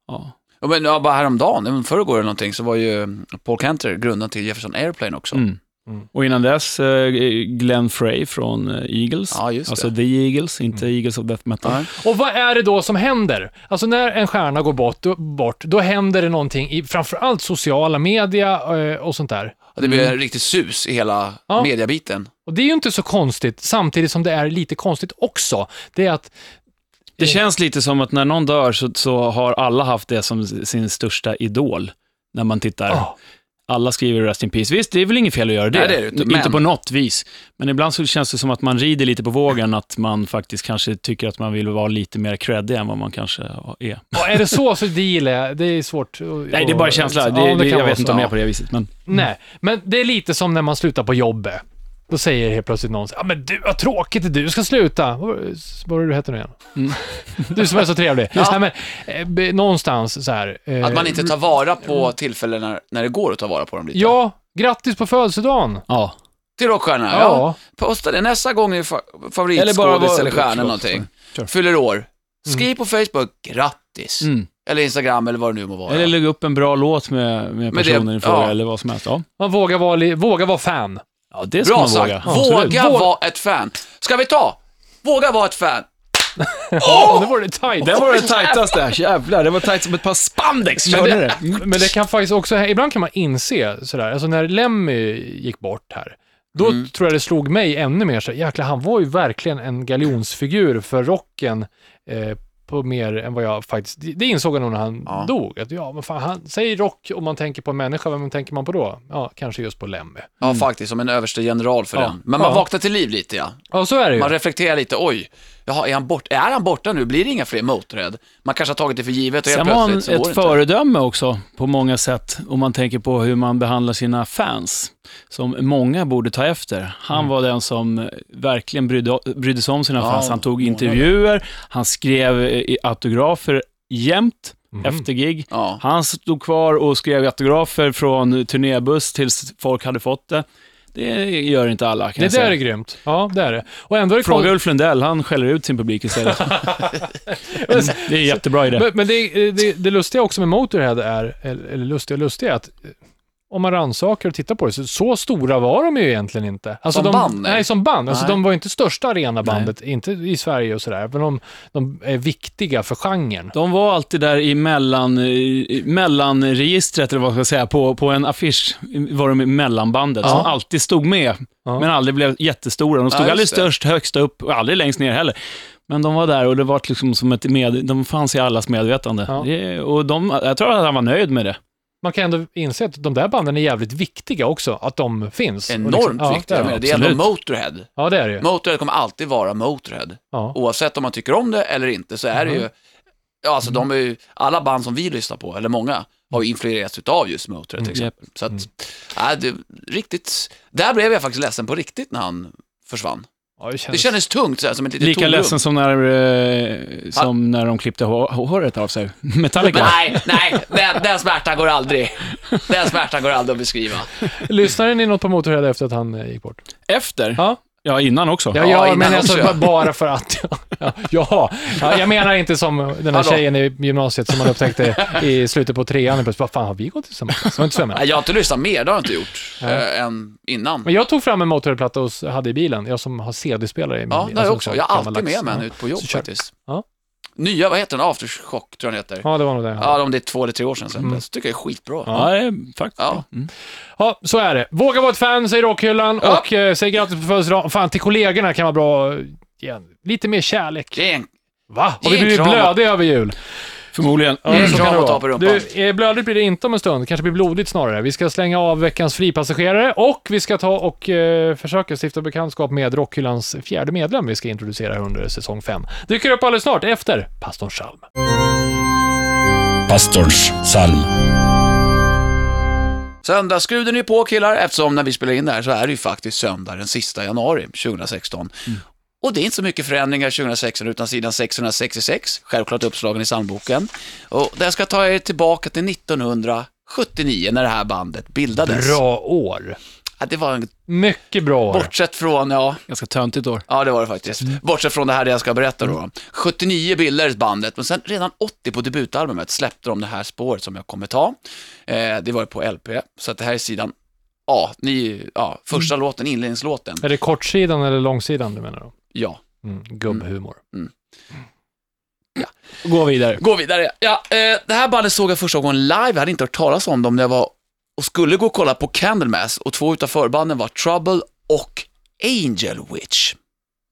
[SPEAKER 3] Ja.
[SPEAKER 4] Ja, men ja, bara häromdagen, även förrgår eller någonting, så var ju mm, Paul Cantor grundaren till Jefferson Airplane också.
[SPEAKER 3] Mm.
[SPEAKER 2] Mm.
[SPEAKER 3] Och innan dess, eh, Glenn Frey från eh, Eagles.
[SPEAKER 4] Ja, just det.
[SPEAKER 3] alltså The Eagles, inte Eagles of Death Metal.
[SPEAKER 4] Nej.
[SPEAKER 2] Och vad är det då som händer? Alltså när en stjärna går bort, då, bort, då händer det någonting i framförallt sociala media eh, och sånt där.
[SPEAKER 4] Ja, Det blev en riktigt sus i hela
[SPEAKER 2] Ja.
[SPEAKER 4] mediabiten.
[SPEAKER 2] Och det är ju inte så konstigt, samtidigt som det är lite konstigt också. Det är att,
[SPEAKER 3] Det känns lite som att när någon dör så, så har alla haft det som sin största idol. När man tittar.
[SPEAKER 2] Ja.
[SPEAKER 3] Alla skriver Rest in Peace. Visst, det är väl inget fel att göra det.
[SPEAKER 4] Ah. Nej, det är det inte,
[SPEAKER 3] inte
[SPEAKER 4] men-
[SPEAKER 3] på något vis. Men ibland så känns det som att man rider lite på vågen, att man faktiskt kanske tycker att man vill vara lite mer creddig än vad man kanske är.
[SPEAKER 2] ja, är det så, så det gillar jag. Det är svårt.
[SPEAKER 3] Nej, det är bara känsla. Det, det, jag vet inte om jag är på det viset, men...
[SPEAKER 2] Nej, men det är lite som när man slutar på jobbet. Då säger helt plötsligt någon så här, ja men du, vad tråkigt att du ska sluta. Vad vad var det du hette nu igen?
[SPEAKER 3] Mm.
[SPEAKER 2] Du som är så trevlig. Nej, men, eh, be- någonstans så här. eh,
[SPEAKER 4] Att man inte tar vara på tillfällen när, när det går att ta vara på dem lite.
[SPEAKER 2] Ja, grattis på födelsedagen.
[SPEAKER 3] Ja.
[SPEAKER 4] Till rockstjärna, ja.
[SPEAKER 2] Ja.
[SPEAKER 4] Posta det. Nästa gång är fa-
[SPEAKER 3] Eller bara
[SPEAKER 4] favoritskådis
[SPEAKER 3] vara-
[SPEAKER 4] eller stjärna eller
[SPEAKER 3] förlåt,
[SPEAKER 4] någonting.
[SPEAKER 3] Kör.
[SPEAKER 4] Fyller år. Skriv på Facebook, grattis.
[SPEAKER 3] Mm.
[SPEAKER 4] Eller Instagram eller vad det nu må vara.
[SPEAKER 3] Eller lägga upp en bra låt med, med
[SPEAKER 4] det-
[SPEAKER 3] personen i fråga,
[SPEAKER 4] ja.
[SPEAKER 3] eller vad som helst. Ja,
[SPEAKER 2] Man vågar vara, li- våga vara fan.
[SPEAKER 3] ja det ska
[SPEAKER 4] Bra
[SPEAKER 3] man
[SPEAKER 4] sagt.
[SPEAKER 3] våga.
[SPEAKER 4] Våga,
[SPEAKER 2] absolut. Vå-
[SPEAKER 4] vara ett fan. Ska vi ta? Våga vara ett fan.
[SPEAKER 2] Åh, nu var det tight.
[SPEAKER 3] Det var det tajtaste, jävlar. Det var tajt som ett par spandex,
[SPEAKER 2] Men
[SPEAKER 3] körde
[SPEAKER 2] det,
[SPEAKER 3] det?
[SPEAKER 2] men det kan faktiskt också, ibland kan man inse sådär, alltså när Lemmy gick bort här, då
[SPEAKER 4] Mm.
[SPEAKER 2] tror jag det slog mig ännu mer så jäklar han var ju verkligen en galjonsfigur för rocken eh, på mer än vad jag faktiskt, det, det insåg jag nog när han
[SPEAKER 4] Ja.
[SPEAKER 2] dog, att ja men fan, han, säg rock om man tänker på en människa, vem tänker man på då? Ja, kanske just på Lemmy.
[SPEAKER 3] Mm.
[SPEAKER 4] Ja, faktiskt. Som en överste general för
[SPEAKER 2] Ja.
[SPEAKER 4] den. Men man
[SPEAKER 2] Ja.
[SPEAKER 4] vaknar till liv lite, ja.
[SPEAKER 2] Ja, så är det ju.
[SPEAKER 4] Man reflekterar lite. Oj, jaha, är, han bort, är han borta nu? Blir det inga fler Motörhead? Man kanske har tagit det för givet och helt
[SPEAKER 3] Sen var han
[SPEAKER 4] plötsligt så går det
[SPEAKER 3] ett
[SPEAKER 4] inte.
[SPEAKER 3] föredöme också på många sätt, om man tänker på hur man behandlar sina fans, som många borde ta efter. Han var den som eh, verkligen brydde, brydde sig om sina
[SPEAKER 4] Mm. Ja,
[SPEAKER 3] fans. Han tog
[SPEAKER 4] månader.
[SPEAKER 3] intervjuer, han skrev eh, i- autografer jämt efter gig.
[SPEAKER 4] Mhm. Ja.
[SPEAKER 3] Han stod kvar och skrev autografer från turnébuss tills folk hade fått det. Det gör inte alla, kan
[SPEAKER 2] det
[SPEAKER 3] jag
[SPEAKER 2] där
[SPEAKER 3] säga.
[SPEAKER 2] är grymt. Ja, det är det. Och ändå är det
[SPEAKER 3] Fråga
[SPEAKER 2] kon-
[SPEAKER 3] Ulf Lundell, han skäller ut sin publik istället. det är en jättebra idé.
[SPEAKER 2] Men, men det, det, det lustiga också med Motorhead är, eller eller lustiga och lustiga, är att eh, om man rannsakar och tittar på det, så, så stora var de ju egentligen inte. Alltså de,
[SPEAKER 4] Som band, nej.
[SPEAKER 2] Nej, som band. Alltså
[SPEAKER 4] Nej.
[SPEAKER 2] de var ju inte största arenabandet, inte i Sverige och sådär, men de, de är viktiga för genren.
[SPEAKER 3] De var alltid där i mellan, i mellanregistret, eller vad ska jag säga, på, på en affisch var de i mellanbandet, som alltid stod med,
[SPEAKER 2] Ja.
[SPEAKER 3] men aldrig blev jättestora. De stod
[SPEAKER 4] Ja, just
[SPEAKER 3] aldrig
[SPEAKER 4] det.
[SPEAKER 3] störst, högst upp och aldrig längst ner heller. Men de var där och det var liksom som ett med, de fanns i allas medvetande.
[SPEAKER 2] Ja.
[SPEAKER 3] Det, och de, jag tror att han var nöjd med det.
[SPEAKER 2] man kan ändå inse att de där banden är jävligt viktiga också, att de finns. Och liksom-
[SPEAKER 4] Enormt
[SPEAKER 2] ja,
[SPEAKER 4] viktigt.
[SPEAKER 2] det är
[SPEAKER 4] Jag menar,
[SPEAKER 2] de.
[SPEAKER 4] det är ändå
[SPEAKER 1] absolut.
[SPEAKER 4] Motorhead.
[SPEAKER 2] Ja, det är det ju.
[SPEAKER 4] Motorhead kommer alltid vara Motorhead.
[SPEAKER 2] Ja.
[SPEAKER 4] Oavsett om man tycker om det eller inte så är det
[SPEAKER 2] Mhm.
[SPEAKER 4] ju, ja alltså de är ju,
[SPEAKER 2] Mm-hmm.
[SPEAKER 4] alla band som vi lyssnar på, eller många, har
[SPEAKER 2] Mm.
[SPEAKER 4] ju influerats utav just Motörhead till
[SPEAKER 3] Mm.
[SPEAKER 4] exempel. Så att, ja, det, riktigt, där blev jag faktiskt ledsen på riktigt när han försvann.
[SPEAKER 2] Ja, det
[SPEAKER 4] Det
[SPEAKER 2] känns...
[SPEAKER 4] kändes tungt så här, som ett litet
[SPEAKER 3] Lika
[SPEAKER 4] tomrum.
[SPEAKER 3] ledsen som när, eh, som när de klippte hå- håret av sig. Metallica.
[SPEAKER 4] Men nej, nej, den, den smärtan går aldrig, den smärtan går aldrig att beskriva.
[SPEAKER 2] Lyssnade ni något på Motorhead efter att han eh, gick bort?
[SPEAKER 3] Efter?
[SPEAKER 2] Ja.
[SPEAKER 3] Ja, innan också.
[SPEAKER 2] Ja,
[SPEAKER 4] Ja,
[SPEAKER 2] ja,
[SPEAKER 4] innan
[SPEAKER 2] men
[SPEAKER 4] också,
[SPEAKER 2] alltså
[SPEAKER 4] ja.
[SPEAKER 2] bara för att... Ja, ja, ja, jag menar inte som den här
[SPEAKER 4] Hallå.
[SPEAKER 2] tjejen i gymnasiet som man upptäckte i slutet på trean. och Plötsligt, vad fan har vi gått tillsammans? Det var inte så jag menade.
[SPEAKER 4] Nej, Jag har inte lyssnat mer, det har jag inte gjgjort,
[SPEAKER 2] Nej.
[SPEAKER 4] eh, än innan.
[SPEAKER 2] Men jag tog fram en Motorhead-platta och s- hade i bilen. Jag som har CD-spelare i min
[SPEAKER 4] Ja,
[SPEAKER 2] bil.
[SPEAKER 4] det har
[SPEAKER 2] Alltså,
[SPEAKER 4] jag
[SPEAKER 2] en
[SPEAKER 4] också.
[SPEAKER 2] sån
[SPEAKER 4] Jag har
[SPEAKER 2] gammal
[SPEAKER 4] alltid med
[SPEAKER 2] lax.
[SPEAKER 4] mig
[SPEAKER 2] Ja.
[SPEAKER 4] den ut på jobb
[SPEAKER 2] Så kör.
[SPEAKER 4] faktiskt.
[SPEAKER 2] Ja.
[SPEAKER 4] Nya, vad heter den? Aftershock tror jag den heter.
[SPEAKER 2] Ja, det var nog det. Ja. Mm.
[SPEAKER 4] Ja, om det är två eller tre år sedan. sen dess. tycker jag är skitbra. Ja.
[SPEAKER 1] Ja, det
[SPEAKER 3] eh,
[SPEAKER 1] är faktiskt bra.
[SPEAKER 2] så är det. Våga vara ett fan, säger Rockhyllan.
[SPEAKER 4] Ja.
[SPEAKER 2] Och eh, säg grattis på födelsedagen. Fan, till kollegorna kan vara bra. eh, Igen. Lite mer kärlek.
[SPEAKER 4] Det är en,
[SPEAKER 2] Va? Har vi
[SPEAKER 4] Ge en
[SPEAKER 2] blivit
[SPEAKER 4] kram.
[SPEAKER 2] blödiga över jul?
[SPEAKER 3] Förmodligen.
[SPEAKER 2] Ja,
[SPEAKER 4] Mm.
[SPEAKER 2] så kan
[SPEAKER 4] Kram
[SPEAKER 2] det
[SPEAKER 4] och ta
[SPEAKER 2] vara.
[SPEAKER 4] på rumpan.
[SPEAKER 2] du, eh, blödigt blir det inte om en stund, kanske blir blodigt snarare. Vi ska slänga av veckans fripassagerare och vi ska ta och eh, försöka stifta bekantskap med Rockhyllans fjärde medlem vi ska introducera under säsong 5. Dyker upp alldeles snart efter Pastorn Salm.
[SPEAKER 1] Pastorns psalm.
[SPEAKER 4] söndagsskruden är på killar, eftersom när vi spelar in det här så är det ju faktiskt söndag den sista januari 2016.
[SPEAKER 2] Mm.
[SPEAKER 4] Och det är inte så mycket förändringar 2016 utan sidan 666, självklart uppslagen i psalmboken. Och där ska jag ta er tillbaka till 1979 när det här bandet bildades.
[SPEAKER 2] Bra år.
[SPEAKER 4] Ja, det var en,
[SPEAKER 2] Mycket bra år.
[SPEAKER 4] bortsett från, ja,
[SPEAKER 3] Ganska töntigt år.
[SPEAKER 4] Ja, det var det faktiskt. Bortsett från det här det jag ska berätta då. 79 bildades bandet, men sen redan 80 på debutalbumet släppte de det här spåret som jag kommer ta. Eh, det var på LP, så att det här är sidan A, ni, ja, första låten, inledningslåten.
[SPEAKER 2] Är det kortsidan eller långsidan du menar då?
[SPEAKER 4] Ja.
[SPEAKER 2] Mm, gubbhumor.
[SPEAKER 3] Gå vidare.
[SPEAKER 4] Gå vidare. Ja, eh, det här bandet såg jag första gången live, jag hade inte hört talas om dem när jag var och skulle gå och kolla på Candlemass och två utav förbanden var Trouble och Angel Witch.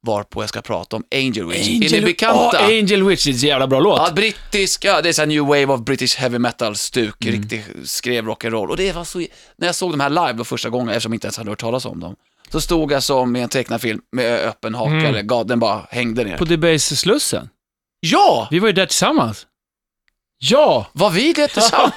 [SPEAKER 4] Varpå jag ska prata om Angel Witch. är ni bekanta?
[SPEAKER 3] Ja, Angel Witch är en jävla bra låt.
[SPEAKER 4] Ja, brittisk, ja, det är så här new wave of British heavy metal-stuk,
[SPEAKER 3] Mm.
[SPEAKER 4] riktigt skrev rock'n'roll. Och det var så, när jag såg de här live då första gången, eftersom jag inte ens hade hört talas om dem, så stod jag som i en tecknad film med öppen haka,
[SPEAKER 2] Mm.
[SPEAKER 4] eller gad, den bara hängde ner.
[SPEAKER 3] På Debase-slussen.
[SPEAKER 4] Ja!
[SPEAKER 3] Vi var ju där tillsammans. Ja!
[SPEAKER 4] Var vi det tillsammans?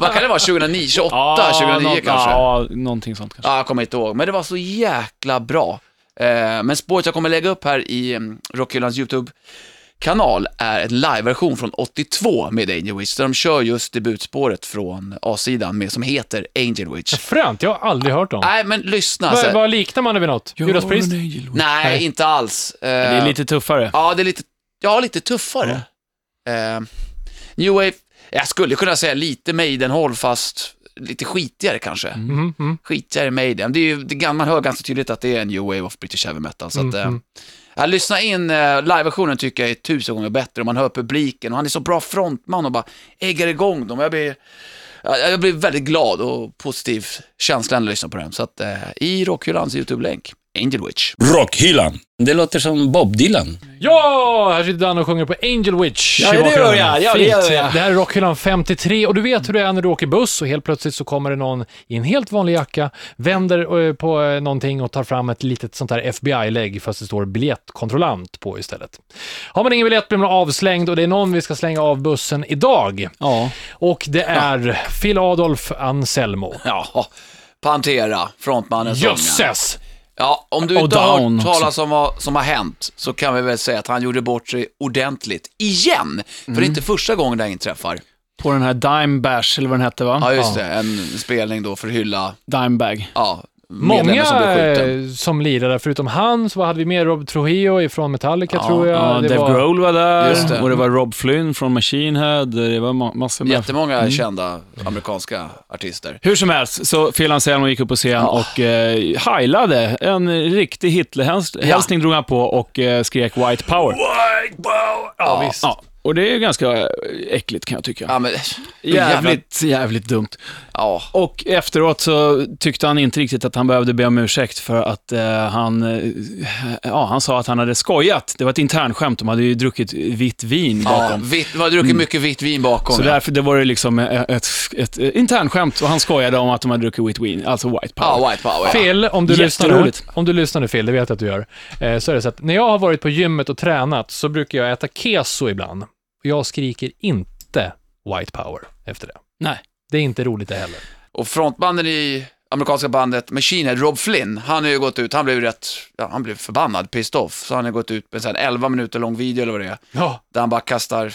[SPEAKER 4] Vad kan det vara, 2009, 28, 2009
[SPEAKER 3] nå-
[SPEAKER 4] kanske?
[SPEAKER 3] Ja, någonting sånt kanske.
[SPEAKER 4] Ja, jag kommer inte ihåg, men det var så jäkla bra. Eh, men spåret jag kommer lägga upp här i mm, Rockhyllans YouTube-kanal är en liveversion från 82 med Angel Witch, där de kör just debutspåret från A-sidan med, som heter Angel Witch.
[SPEAKER 2] Fränt, jag har aldrig hört om.
[SPEAKER 4] Nej, alltså- men lyssna. så
[SPEAKER 2] Vad-
[SPEAKER 4] här-
[SPEAKER 2] Vad liknar man det vid något? Judas Priest?
[SPEAKER 4] Nej, inte alls. Eh,
[SPEAKER 3] Det är lite tuffare.
[SPEAKER 4] Ja, det är lite, ja, lite tuffare. Eh, New Wave, jag skulle kunna säga lite Maidenhåll, fast lite skitigare kanske.
[SPEAKER 2] Mhm, mm.
[SPEAKER 4] skitigare Maiden. Det är ju, det, är gan- man hör ganska tydligt att det är en new wave of British heavy metal. Så att, eh,
[SPEAKER 3] Mhm.
[SPEAKER 4] ja, lyssna in, eh, liveversionen tycker jag är tusen gånger bättre och man hör publiken och han är så bra frontman och bara äggar igång dem. Jag blir, ja, jag blir väldigt glad och positiv känsla när jag lyssnar på den. Så att, eh, i Rockhyllans YouTube-länk, Angel Witch.
[SPEAKER 1] Rockhyllan. Det låter som Bob Dylan.
[SPEAKER 2] Ja, här sitter Dan och sjunger på Angel Witch.
[SPEAKER 3] Ja,
[SPEAKER 2] i
[SPEAKER 3] det
[SPEAKER 2] bakgrunden.
[SPEAKER 3] gör jag. Ja, det
[SPEAKER 2] Fint.
[SPEAKER 3] gör jag.
[SPEAKER 2] Det här är Rockhyllan 53 och du vet hur det är när du åker buss och helt plötsligt så kommer det någon i en helt vanlig jacka, vänder eh, på eh, någonting och tar fram ett litet sånt här FBI-lägg fast det står biljettkontrollant på istället. Har man ingen biljett blir man avslängd och det är någon vi ska slänga av bussen idag.
[SPEAKER 3] Ja.
[SPEAKER 2] Och det är Phil Adolf Anselmo.
[SPEAKER 4] Ja, Pantera, frontmannen sångaren.
[SPEAKER 2] Jösses!
[SPEAKER 4] Ja, om du
[SPEAKER 3] Och
[SPEAKER 4] inte har
[SPEAKER 3] Down
[SPEAKER 4] hört
[SPEAKER 3] också.
[SPEAKER 4] talas om vad som har hänt så kan vi väl säga att han gjorde bort sig ordentligt. Igen! För
[SPEAKER 3] Mm.
[SPEAKER 4] det är inte första gången det här inträffar.
[SPEAKER 3] På den här Dime Bash, eller vad den hette va?
[SPEAKER 4] Ja, just det. En spelning då för att hylla
[SPEAKER 3] Dimebag.
[SPEAKER 4] ja,
[SPEAKER 2] Många
[SPEAKER 4] medlemmen som blev skjuten.
[SPEAKER 2] som, som lirade, förutom han så hade vi med Rob Trujillo ifrån Metallica tror jag.
[SPEAKER 3] Ja,
[SPEAKER 2] Det
[SPEAKER 3] Dave
[SPEAKER 2] var-
[SPEAKER 3] Grohl var där,
[SPEAKER 4] Just det.
[SPEAKER 3] och det var Rob Flynn från Machine Head, det var ma- massor med...
[SPEAKER 4] Jättemånga kända amerikanska artister.
[SPEAKER 3] Hur som helst, så Phil Anselmo gick upp på scen och eh, heilade. En riktig Hitlerhälsning drog han på och eh, skrek White Power.
[SPEAKER 2] Ja, visst.
[SPEAKER 3] Ja, Och det är ju ganska äckligt kan jag tycka.
[SPEAKER 4] Ja, men,
[SPEAKER 3] Jävligt, jävligt dumt.
[SPEAKER 4] ja.
[SPEAKER 3] Och efteråt så tyckte han inte riktigt att han behövde be om ursäkt för att eh, han, eh, ja, han sa att han hade skojat. Det var ett internskämt, de hade ju druckit vitt vin
[SPEAKER 4] ja
[SPEAKER 3] bakom.
[SPEAKER 4] vitt, man har druckit mycket vitt vin bakom.
[SPEAKER 3] Så
[SPEAKER 4] ja.
[SPEAKER 3] därför det var det liksom ett, ett, ett internskämt och han skojade om att de hade druckit vitt vin, alltså white power.
[SPEAKER 4] Ja, white power. Ja.
[SPEAKER 2] Phil, om du, lyssnar nu,
[SPEAKER 3] Jätteroligt.
[SPEAKER 2] om du lyssnar nu Phil, det vet jag att du gör, eh, så är det så att när jag har varit på gymmet och tränat så brukar jag äta keso ibland. Och jag skriker inte white power efter det.
[SPEAKER 3] Nej.
[SPEAKER 2] Det är inte roligt det heller.
[SPEAKER 4] Och frontmannen i amerikanska bandet Machine Head, Rob Flynn, han har ju gått ut, han blev ju rätt, ja, han blev förbannad, pissed off. Så han har gått ut med en sån här 11 minuter lång video eller vad det är,
[SPEAKER 2] Ja.
[SPEAKER 4] där han bara kastar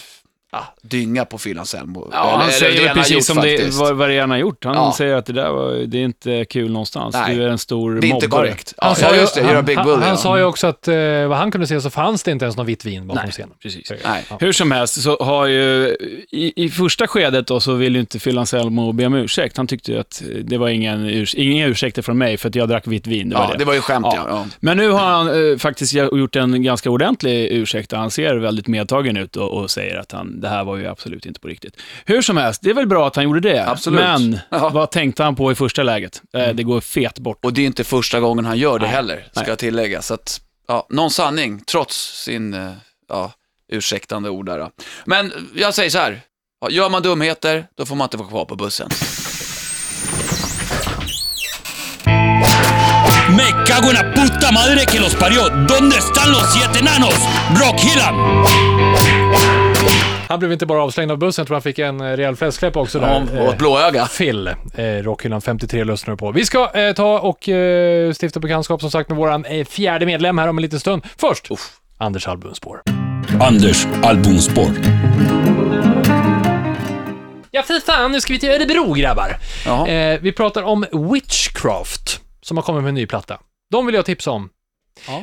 [SPEAKER 4] ja, dynga på Phil Anselmo.
[SPEAKER 3] Ja,
[SPEAKER 4] Eller-
[SPEAKER 3] han
[SPEAKER 4] eller
[SPEAKER 3] säger
[SPEAKER 4] det
[SPEAKER 3] väl
[SPEAKER 4] han har gjort
[SPEAKER 3] precis som det,
[SPEAKER 4] faktiskt.
[SPEAKER 3] vad, vad det är han har gjort. Han
[SPEAKER 4] Ja.
[SPEAKER 3] säger att det där var, det är inte kul någonstans.
[SPEAKER 4] Nej.
[SPEAKER 3] Du är en stor
[SPEAKER 4] Det är inte
[SPEAKER 3] mobbare.
[SPEAKER 4] korrekt. Ja, ja, just det,
[SPEAKER 2] han,
[SPEAKER 4] you're a big
[SPEAKER 2] han,
[SPEAKER 4] bully.
[SPEAKER 2] han
[SPEAKER 4] ja.
[SPEAKER 2] sa ju också att eh, vad han kunde se så fanns det inte ens något vitt vin bakom scenen. Eh,
[SPEAKER 3] Precis.
[SPEAKER 4] Nej.
[SPEAKER 3] Hur som helst så har ju, i, i första skedet då så ville ju inte Phil Anselmo be om ursäkt. Han tyckte ju att det var ingen urs inga ursäkter från mig för att jag drack vitt vin. Det var
[SPEAKER 4] Ja,
[SPEAKER 3] det.
[SPEAKER 4] det var ju skämt ja.
[SPEAKER 3] Ja.
[SPEAKER 4] ja.
[SPEAKER 3] Men nu har han eh, faktiskt gjort en ganska ordentlig ursäkt där han ser väldigt medtagen ut och, och säger att han, det här var ju absolut inte på riktigt. Hur som helst, det är väl bra att han gjorde det.
[SPEAKER 4] Absolut.
[SPEAKER 3] Men
[SPEAKER 4] Ja. Mm.
[SPEAKER 3] vad tänkte han på i första läget? Eh, Det går fet bort.
[SPEAKER 4] Och det är inte första gången han gör det heller, ska jag tillägga. Så att, ja, någon sanning, trots sin eh, ja, ursäktande ord där. då. Men jag säger så här, ja, gör man dumheter, då får man inte vara kvar på bussen.
[SPEAKER 1] Me cago en la puta madre que los parió. ¿Dónde están los siete enanos? Brock Hillam.
[SPEAKER 2] Han blev inte bara avslängd av bussen, jag tror han fick en eh, rejäl fläskläpp också där.
[SPEAKER 4] Om, och
[SPEAKER 2] Eh,
[SPEAKER 4] ett blåöga.
[SPEAKER 2] Phil, eh, Rockhyllan 53 lyssnar på. Vi ska eh, ta och eh, stifta bekantskap som sagt med våran eh, fjärde medlem här om en liten stund. Först, Anders Albumspår.
[SPEAKER 1] Anders Albumspor.
[SPEAKER 2] Ja, fy fan, nu ska vi till Örebro grabbar.
[SPEAKER 4] Jaha.
[SPEAKER 2] Eh, vi pratar om Witchcraft, som har kommit med en ny platta. De vill jag tipsa om.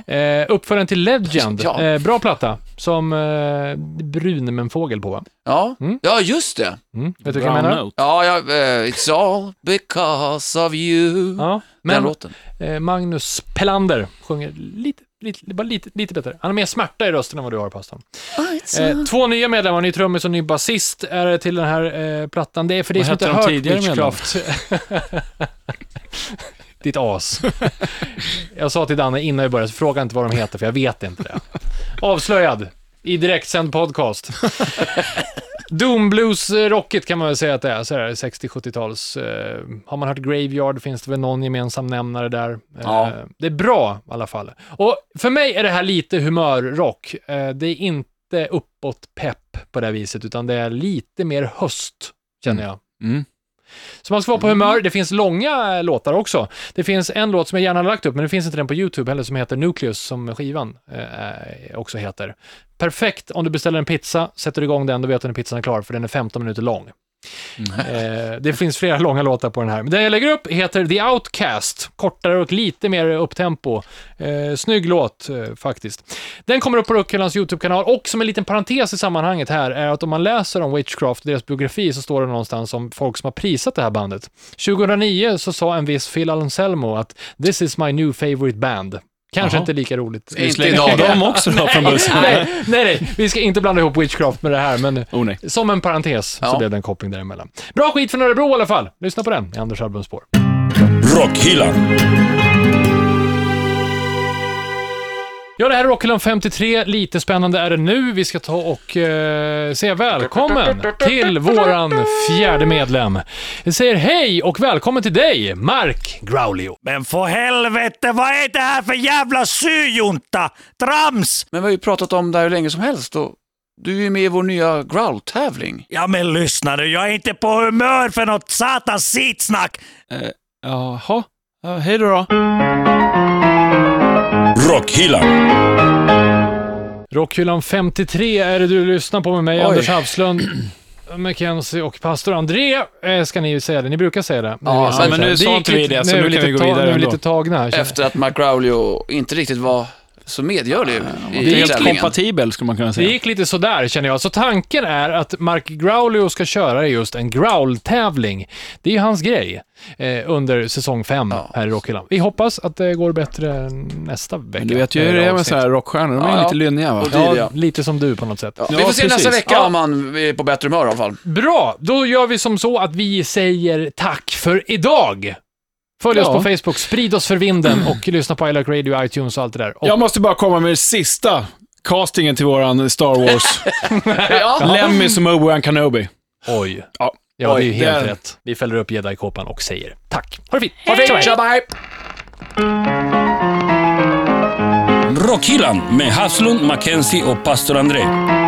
[SPEAKER 2] Eh, uppföraren till Legend,
[SPEAKER 4] Ja.
[SPEAKER 2] eh, bra platta, som eh, brun med en fågel på va?
[SPEAKER 4] Ja.
[SPEAKER 2] Mm.
[SPEAKER 4] ja, just det.
[SPEAKER 2] Mm, vet du vad jag menar?
[SPEAKER 3] Note.
[SPEAKER 4] Ja, jag, eh, it's all because of you.
[SPEAKER 2] Ja,
[SPEAKER 4] Den
[SPEAKER 2] men
[SPEAKER 4] låten.
[SPEAKER 2] eh, Magnus Pelander sjunger lite, lite, bara lite, lite bättre. Han har mer smärta i rösten än vad du har, pastorn. Eh, två nya medlemmar, ny trummis och ny basist är det till den här eh, plattan. Det är för dig
[SPEAKER 3] Vad
[SPEAKER 2] som inte
[SPEAKER 3] hette
[SPEAKER 2] har hört
[SPEAKER 3] de tidigare
[SPEAKER 2] Witchcraft. Ditt as. Jag sa till Danne innan vi började, så fråga inte vad de heter, för jag vet inte det. Avslöjad i direktsänd podcast. Doom Blues eh, rockigt kan man väl säga att det är, så här 60-70-tals. Eh, har man hört Graveyard finns det väl någon gemensam nämnare där. Eh,
[SPEAKER 4] Ja.
[SPEAKER 2] Det är bra i alla fall. Och för mig är det här lite humörrock. Eh, det är inte uppåt pepp på det här viset, utan det är lite mer höst, känner jag.
[SPEAKER 3] Mm.
[SPEAKER 2] Så man ska vara på humör. Det finns långa eh, låtar också. Det finns en låt som jag gärna hade lagt upp, men det finns inte den på YouTube heller, som heter Nucleus, som skivan eh, också heter. Perfekt om du beställer en pizza, sätter igång den, då vet du när pizzan är klar, för den är 15 minuter lång. Eh, det finns flera långa låtar på den här. Men den jag lägger upp heter The Outcast, kortare och lite mer upptempo. Eh, snygg låt eh, faktiskt. Den kommer upp på Rockhyllans YouTube-kanal och som en liten parentes i sammanhanget här är att om man läser om Witchcraft och deras biografi så står det någonstans om folk som har prisat det här bandet. 2009 så sa en viss Phil Anselmo att “This is my new favorite band”. Kanske
[SPEAKER 3] Jaha.
[SPEAKER 2] inte lika roligt.
[SPEAKER 4] Inte
[SPEAKER 2] Slänga
[SPEAKER 4] idag.
[SPEAKER 2] dem
[SPEAKER 3] De också då från bussen?
[SPEAKER 2] nej, nej, nej, vi ska inte blanda ihop Witchcraft med det här, men
[SPEAKER 3] Oh, nej.
[SPEAKER 2] som en parentes så
[SPEAKER 4] Ja.
[SPEAKER 2] blev det en koppling däremellan. Bra skit från Örebro i alla fall. Lyssna på den i Anders albumspår.
[SPEAKER 1] Rock Hillam.
[SPEAKER 2] Ja, det här är Rockhyllan 53. Lite spännande är det nu. Vi ska ta och eh, säga välkommen till våran fjärde medlem. Vi säger hej och välkommen till dig, Mark Graulio.
[SPEAKER 6] Men för helvete, vad är det här för jävla syjunta? Trams!
[SPEAKER 4] Men vi har ju pratat om det här hur länge som helst och du är ju med i vår nya growl-tävling.
[SPEAKER 6] Ja men lyssna nu, jag är inte på humör för något satans sitsnack.
[SPEAKER 3] Jaha, Ja, hej då. då.
[SPEAKER 1] Rock Hillam.
[SPEAKER 2] Rockhyllan 53 är det du lyssnar på med mig,
[SPEAKER 4] Oj.
[SPEAKER 2] Anders Havslund. Mackenzie och pastor André eh, ska ni ju säga det. Ni brukar säga det.
[SPEAKER 4] Ja,
[SPEAKER 2] vet jag
[SPEAKER 4] men
[SPEAKER 2] inte.
[SPEAKER 3] nu sa
[SPEAKER 2] gick
[SPEAKER 3] inte vi
[SPEAKER 2] lite-
[SPEAKER 3] det, så nu
[SPEAKER 2] är
[SPEAKER 3] kan
[SPEAKER 2] lite
[SPEAKER 3] vi gå
[SPEAKER 2] ta- Nu
[SPEAKER 3] vidare
[SPEAKER 2] är vi
[SPEAKER 3] ändå.
[SPEAKER 2] lite tagna här. känner jag.
[SPEAKER 4] Efter att Mark Raulio inte riktigt var så medgör du
[SPEAKER 3] Det är
[SPEAKER 4] i
[SPEAKER 3] helt
[SPEAKER 4] tävlingen.
[SPEAKER 3] kompatibel, skulle man kunna
[SPEAKER 2] Det
[SPEAKER 3] säga.
[SPEAKER 2] gick lite sådär känner jag. Så tanken är att Mark Graulio ska köra just en growl-tävling. Det är ju hans grej eh, under säsong 5 här i Rockhyllan. Vi hoppas att det går bättre nästa vecka. Eh,
[SPEAKER 3] Men du vet ju hur det är med så här rockstjärnor, de är
[SPEAKER 4] Ja,
[SPEAKER 3] lite
[SPEAKER 4] ja.
[SPEAKER 3] lynniga va?
[SPEAKER 4] Och dyr,
[SPEAKER 2] Ja,
[SPEAKER 4] ja.
[SPEAKER 2] lite som du på något sätt.
[SPEAKER 4] Vi får se
[SPEAKER 3] precis.
[SPEAKER 4] nästa vecka
[SPEAKER 3] Ja.
[SPEAKER 4] om man är på bättre humör i alla fall.
[SPEAKER 2] Bra, då gör vi som så att vi säger tack för idag. Följ oss
[SPEAKER 3] Ja.
[SPEAKER 2] på Facebook, sprid oss för vinden och lyssna på I Like Radio, iTunes och allt det där. Och
[SPEAKER 3] Jag måste bara komma med det sista castingen till våran Star Wars.
[SPEAKER 4] Ja.
[SPEAKER 3] Lemmy som Obi-Wan Kanobi.
[SPEAKER 2] Oj.
[SPEAKER 3] Ja.
[SPEAKER 2] Ja, det är ju
[SPEAKER 3] Oj,
[SPEAKER 2] helt
[SPEAKER 3] den-
[SPEAKER 2] rätt. Vi fäller upp jedi-kåpan och säger tack. Ha det fint!
[SPEAKER 4] Ha det fint, tja, bye!
[SPEAKER 1] Rockhyllan med Haslund, Mackenzie och pastor André.